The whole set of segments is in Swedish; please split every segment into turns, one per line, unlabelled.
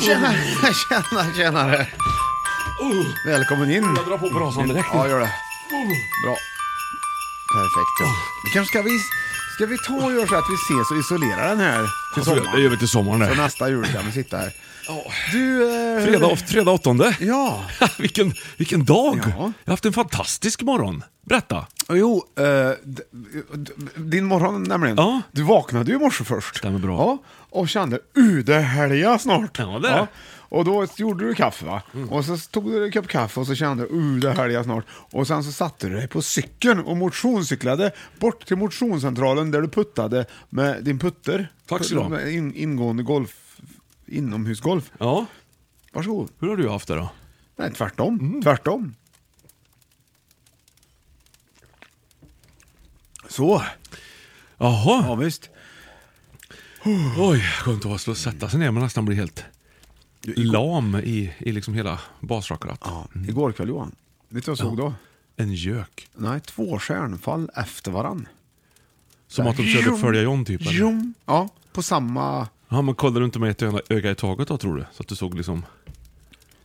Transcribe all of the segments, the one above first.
Tjena, tjena, tjenare! Välkommen in.
Jag drar på brasan direkt.
Ja, gör det. Bra. Perfekt. Ja. Vi kanske ska vi, ska vi ta och göra så att vi ses och isolerar den här till
Alltså,
sommaren?
det gör vi till sommaren
Så
där.
nästa jul kan vi sitta här. Du... Eh,
Fredag, fredag åttonde.
Ja.
vilken, vilken dag!
Ja.
Jag har haft en fantastisk morgon. Berätta.
Jo, eh, d- d- din morgon nämligen.
Ja.
Du vaknade ju i morse först.
Stämmer bra.
Ja, och kände, uh det är helga snart.
Ja, det Mm. är det.
Och då gjorde du kaffe va? Och så tog du en kopp kaffe och så kände du, uh det är helga snart. Och sen så satte du dig på cykeln och motionscyklade bort till motionscentralen där du puttade med din putter.
Tack ska du ha.
Med In, ingående golf, inomhusgolf.
Ja,
Varsågod.
hur har du haft det då?
Nej, tvärtom.
Mm.
Tvärtom. Så, ja
Jaha,
visst.
oj, skönt att vara så- sätta sig ner. Man nästan blir helt lam i, i liksom hela basrakarat.
Ja, igår kväll Johan, vet du vad jag såg då?
En gök.
Nej, två stjärnfall efter varann.
Som att de körde följa John typ. eller?
Jum. Ja, på samma...
Ja, men kollade du inte med ett öga- öga i taget då tror du? Så att du såg liksom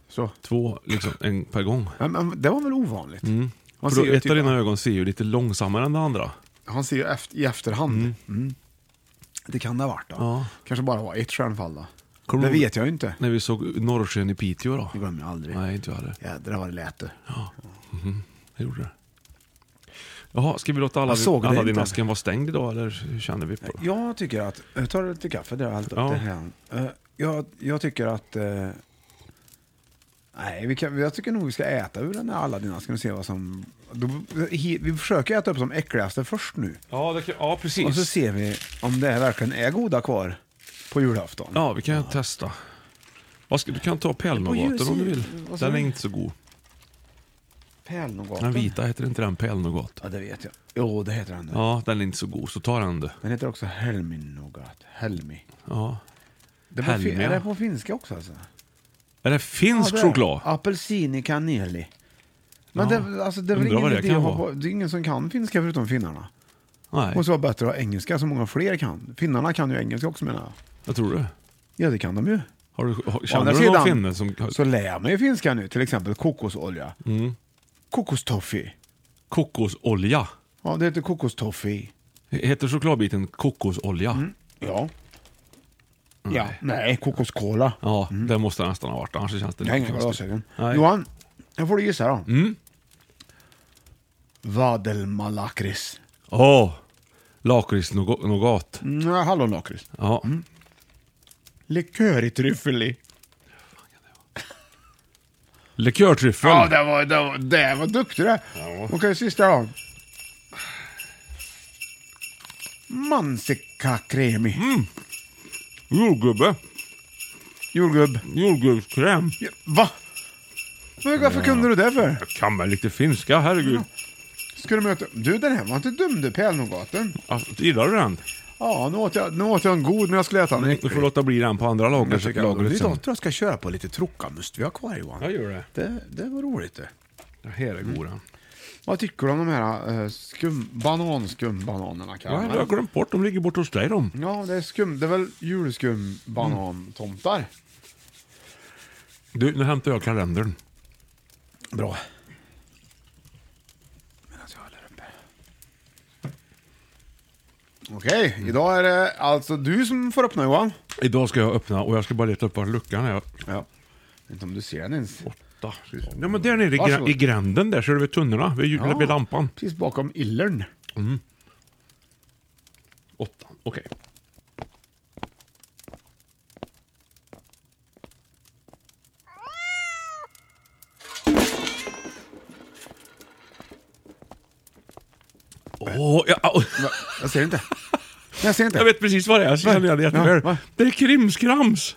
Så.
två, liksom en per gång.
Men, men, det var väl ovanligt? Man
Mm. För
ser
då,
ju
ett
typ,
av dina ögon ser ju lite långsammare än det andra.
han ser ju efter, i efterhand. Mm. Det kan det ha varit då.
Ja.
Kanske bara var ett stjärnfall då.
Kommer
det
du ihåg-
vet jag ju inte.
När vi såg norrsken i Piteå då.
Det glömmer jag aldrig.
Nej, inte jag heller.
Jädrar vad det lät det.
Jag gjorde det. Jaha, ska vi låta alla,
Jag såg det
alla
inte.
din asken vara stängd idag eller hur känner vi på det?
Jag tycker att, jag tar lite kaffe där jag har hällt upp
Ja.
det här. Eh, Jag, jag tycker att, eh, nej vi kan, jag tycker nog vi ska äta ur den här Aladdin-asken och se vad som, då, he- vi försöker äta upp de äckligaste först nu.
Ja, det kan, ja precis.
Och så ser vi om det här verkligen är goda kvar på julafton.
Ja, vi kan testa. Vad ska, du kan ta pälnogaten om du vill.
Vad sa
Den är
du?
inte så god. Den
Pärlnogaten.
vita heter inte den, pälnogat.
Ja det vet jag. Jo det heter den nu.
Ja, den är inte så god, så ta den du.
Den heter också Helminogat. Helmi.
Ja.
Det var fi- är
Helmi, ja.
det på finska också alltså?
Är det finsk
det är
choklad?
Apelsini canneli. Men
Ja.
det, alltså, det, är väl
Undrar
ingen
vad det
idé
kan
att ha,
vara.
på- det är ingen som kan finska förutom finnarna.
Nej,
måste vara bättre att ha engelska så många fler kan. Finnarna kan ju engelska också menar jag.
jag tror det.
Ja det kan de ju.
Har du, har,
Å andra
känner du någon
sidan
finne som... Mm.
Så lär man ju finska nu, till exempel kokosolja. Kokostoffee.
Kokosolja.
Ja det heter kokostoffee.
Heter chokladbiten kokosolja?
Mm. Ja. Ja, nej, kokoskola.
Ja, det måste det nästan ha varit. Annars känns det
Jag har inga
konstigt.
glasögon.
Nej.
Johan, nu får du gissa då. Mm. Vadelmalakris.
Åh! Lakritsnougat.
Mm, Hallonlakrits.
Ja.
Likör i tryffeli.
Likörtryffel.
Ja, det var, det var, det var duktig det. Okej, sista då. Mansikakremi.
Jordgubbe.
Jordgubb.
Jordgubbskräm.
Ja, Va? Men varför kunde du det för?
Jag kan väl lite finska, herregud.
Ska du möta... Du, den här var inte dum du, pärlnogaten.
Ja, gillar du den?
Ja, nu åt, jag, nu åt jag en god, men jag skulle äta en
Du får låta bli den på andra
Jag
lager,
tycker att
lagret
din
sen.
dotter ska köra på lite trokamust vi har kvar Johan.
Ja, gör det.
Det, det var roligt det.
Det Mm. här är god den.
Vad tycker du om de här eh, skum, bananskumbananerna?
Ja,
Kalle?
jag har glömt bort, de ligger bort hos dig de.
Ja, det är skum. Det är väl julskumbanantomtar?
Du, nu hämtar jag kalendern.
Bra.
Okej, idag är det alltså du som får öppna Johan.
Idag ska jag öppna och jag ska bara leta upp var luckan är.
Ja. Inte om du ser den ens.
Åtta. Ja, men där nere i,
Varsågod.
gra- i gränden där ser du vid tunnorna, vid, ja. vid lampan.
Precis bakom illern.
Åtta, okej. Åh, jag, au.
Jag ser inte. Jag ser inte.
jag vet precis vad det är, så känner jag det jätteväl.
Ja, va?
Det är krimskrams!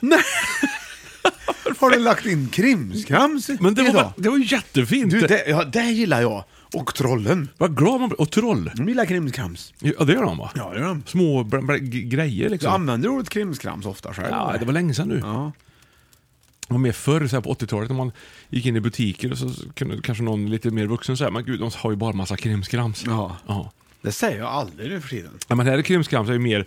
Har du lagt in krimskrams i-
Men det
idag?
var, det var ju jättefint!
Du, det, ja, det gillar jag. Och trollen.
Vad glad man blir. Och troll!
De gillar krimskrams.
Ja, det gör de va?
Ja, det gör de.
Små br- br- g- grejer
Du
liksom.
använder ordet krimskrams ofta själv?
Ja, det var länge sedan nu.
Ja.
Det var mer förr, så här på 80-talet, när man gick in i butiker och så kunde kanske någon lite mer vuxen säga men gud, de har ju bara massa krimskrams.
Ja.
ja.
Det säger jag aldrig nu för tiden.
Ja, men här är krimskrams är ju mer,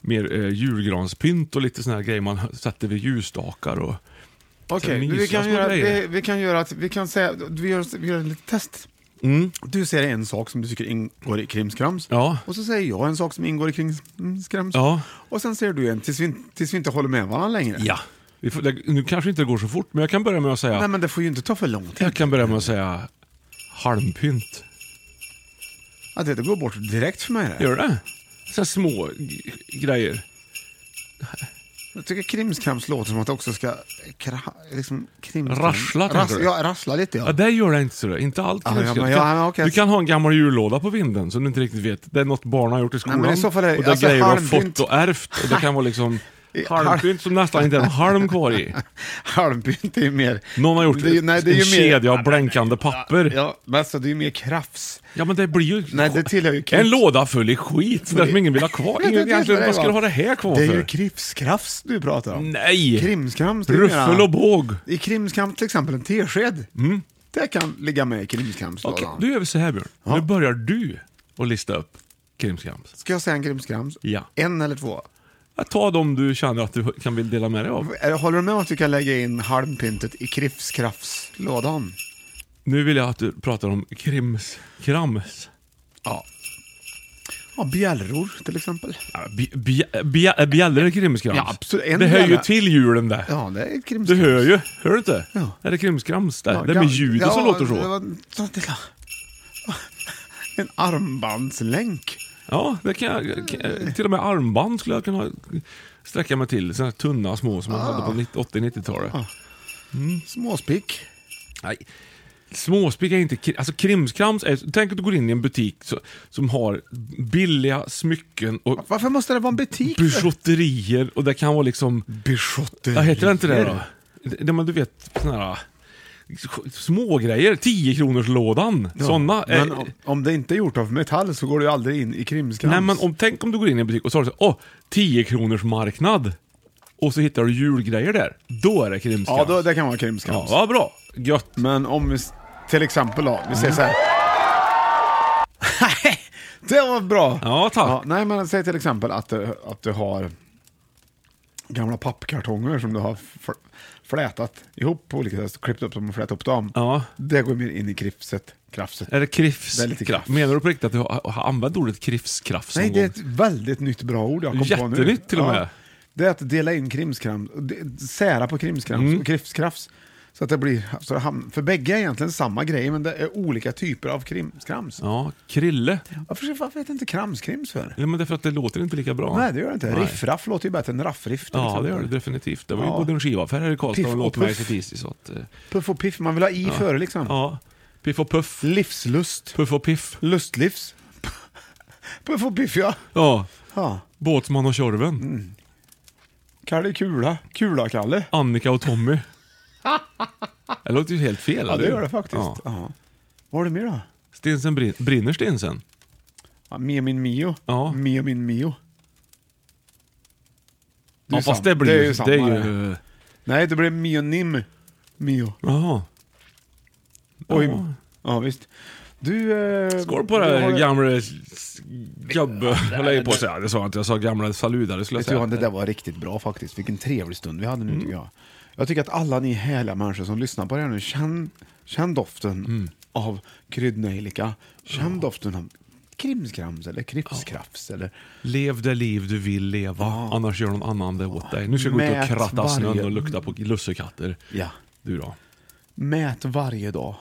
mer eh, julgranspynt och lite såna här grejer man sätter vid ljusstakar och... så här
Okej, vi,
mysiga
kan
små
göra-
grejer.
vi, vi kan göra att, vi kan säga, vi gör, vi gör ett litet test. Du säger en sak som du tycker ingår i krimskrams.
Mm. Ja.
Och så säger jag en sak som ingår i krimskrams.
Ja.
Och sen säger du en tills vi, tills vi inte håller med varandra längre.
Ja. Vi får, det, nu kanske inte det går så fort, men jag kan börja med att säga...
Nej men det får ju inte ta för lång tid.
jag kan börja med att säga halmpynt.
Ja, det, det går bort direkt för mig. Det.
Gör det? Så här små g- grejer.
Jag tycker krimskrams låter som att det också ska kra, liksom, krimskrams.
Rassla, tänker du?
Ja, rassla lite ja.
Ja, det gör det inte. Så det. Inte allt
Ja,
krimskrams.
ja, men
Du kan-
ja, ja, okej.
Du kan ha en gammal jullåda på vinden som du inte riktigt vet. Det är något barn har gjort i skolan.
men i så fall är det-
och det är
alltså,
grejer du har
halmpynt-
fått och ärvt. Och det kan vara liksom
I-
halmpynt som nästan inte är en halm kvar i.
Halmpynt är ju mer...
Någon har gjort
Det är ju- nej, det är
en
ju mer-
kedja av blänkande papper. Ja,
Ja, men alltså det är ju mer krafs.
men det blir ju...
Nej, det tillhör ju
En låda full i skit, det som ingen vill ha kvar.
Jag vet
Ingen,
inte
egentligen,
vad
vad ska du
var.
ha det här kvar
Det är
för?
ju krimskrams du pratar om.
Nej!
Krimskrams. det är ju
Ruffel
mera-
och båg.
I krimskrams till exempel, en tesked. Det kan ligga med i krimskramslådan.
Mm. Okej, nu gör vi så här Björn. Nu börjar du att lista upp krimskrams.
Ska jag säga en krimskrams?
Ja.
En eller två?
Ta de du känner att du kan vill dela med dig av.
Eller Eh, Håller du med om att vi kan lägga in halmpyntet i krimskramslådan?
Nu vill jag att du pratar om krimskrams.
Ja. Ja, bjällror till exempel.
Ja, bj- bj- bj- Bjällror är krimskrams.
Ja, absolut. En
det hör ju
bjällra.
till julen det.
Ja, det är
Du
krimskrams.
hör ju, hör du inte?
Ja.
Det är krimskrams där.
Ja,
det är med
gam-
ljudet som låter så.
det var- En armbandslänk.
Ja, det kan
Eh.
jag, kan, jag- till och med armband skulle jag kunna sträcka mig till. Sådana här tunna små som man hade
Ah.
på 90 80-90-talet.
Småspick.
Nej. Småspik är inte... kri- Alltså krimskrams är... Tänk att du går in i en butik så, som har billiga smycken och
Varför måste det vara en butik?
bijouterier och det kan vara liksom...
Bichotter.
Vad heter det inte det då? Det, det, men du vet, såna här... Smågrejer, 10 kronors lådan Såna. eh, är-
Men om, om det inte är gjort av metall så går du ju aldrig in i krimskrams.
Nej, men om, tänk om du går in i en butik och så har du så, åh, 10 kronors marknad. Och så hittar du julgrejer där. Då är det krimskrams.
ja, då, det kan vara krimskrams.
Ja, vad bra. Gött.
Men om vi, s- till exempel då, vi säger så här. Nej, det var bra.
Ja, tack.
nej, men säg till exempel att du, att du har gamla pappkartonger som du har fl- flätat ihop på olika sätt, klippt upp dem och flätat upp dem.
Ja.
Det går mer in i krifset, krafset.
Är det krifs?
Det är lite krafs.
Menar du på riktigt att du har, har använt ordet krifskrafs
Nej,
någon
det är
gång?
ett väldigt nytt bra ord jag kom på nu.
Jättenytt till och med.
Det är att dela in krimskrams, och de- sära på krimskrams
Mm.
och krifskrafs. Så att det blir, så det hamnar, för bägge är egentligen samma grej, men det är olika typer av krimskrams.
Ja, krille.
Varför, varför heter det inte kramskrims för?
Nej, men det är för att det låter inte lika bra.
Nej, det gör det inte.
Nej.
Riffraff låter ju bättre än liksom. raffriff. till
Ja,
exempel.
det gör det definitivt. Det var ju
Ja.
både en skivaffär här i Karlstad
Piff
och en
och
lågpris i
Puff.
Tisdag. Så att, eh,
Puff och piff, man vill ha i före liksom.
ja. Piff och Puff.
Livslust.
Puff och Piff.
Lustlivs. Puff och piff, ja. Mm.
Ja.
ja.
Båtsman och Tjorven.
Kalle Kula. Kula-Kalle.
Annika och Tommy. Det låter ju helt fel.
Ja,
eller
det
hur?
gör det faktiskt.
Ja.
Ja. Vad har du mer då?
Stinsen brin- brinner stinsen?
Ja, Mio min Mio.
Ja.
Mio min Mio. Det är
Ja,
ju
fast
sam-
det blir
det är
ju...
ju samma,
Det är ju...
Nej, det blev Mio Nim Mio.
Jaha.
Oj. Ja, visst. Du... Eh,
Skål på
du har-
det gamla s- gubbe, höll jag på att säga. Det sa jag inte, jag sa gamla saludare skulle jag
Vet du vad, det
säga.
där var riktigt bra faktiskt. Vilken trevlig stund vi hade
Mm.
nu tycker jag. Jag tycker att alla ni härliga människor som lyssnar på det här nu, känn, känn doften
Mm.
av kryddnejlika. Känn doften av krimskrams eller kripskrafs eller
Lev det liv du vill leva, annars gör någon annan det åt dig. Nu ska jag gå ut och
Mät
kratta
varje-
snön och lukta på lussekatter.
ja.
Du då?
Mät varje dag.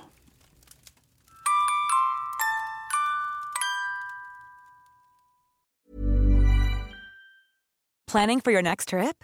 Planning for your next trip?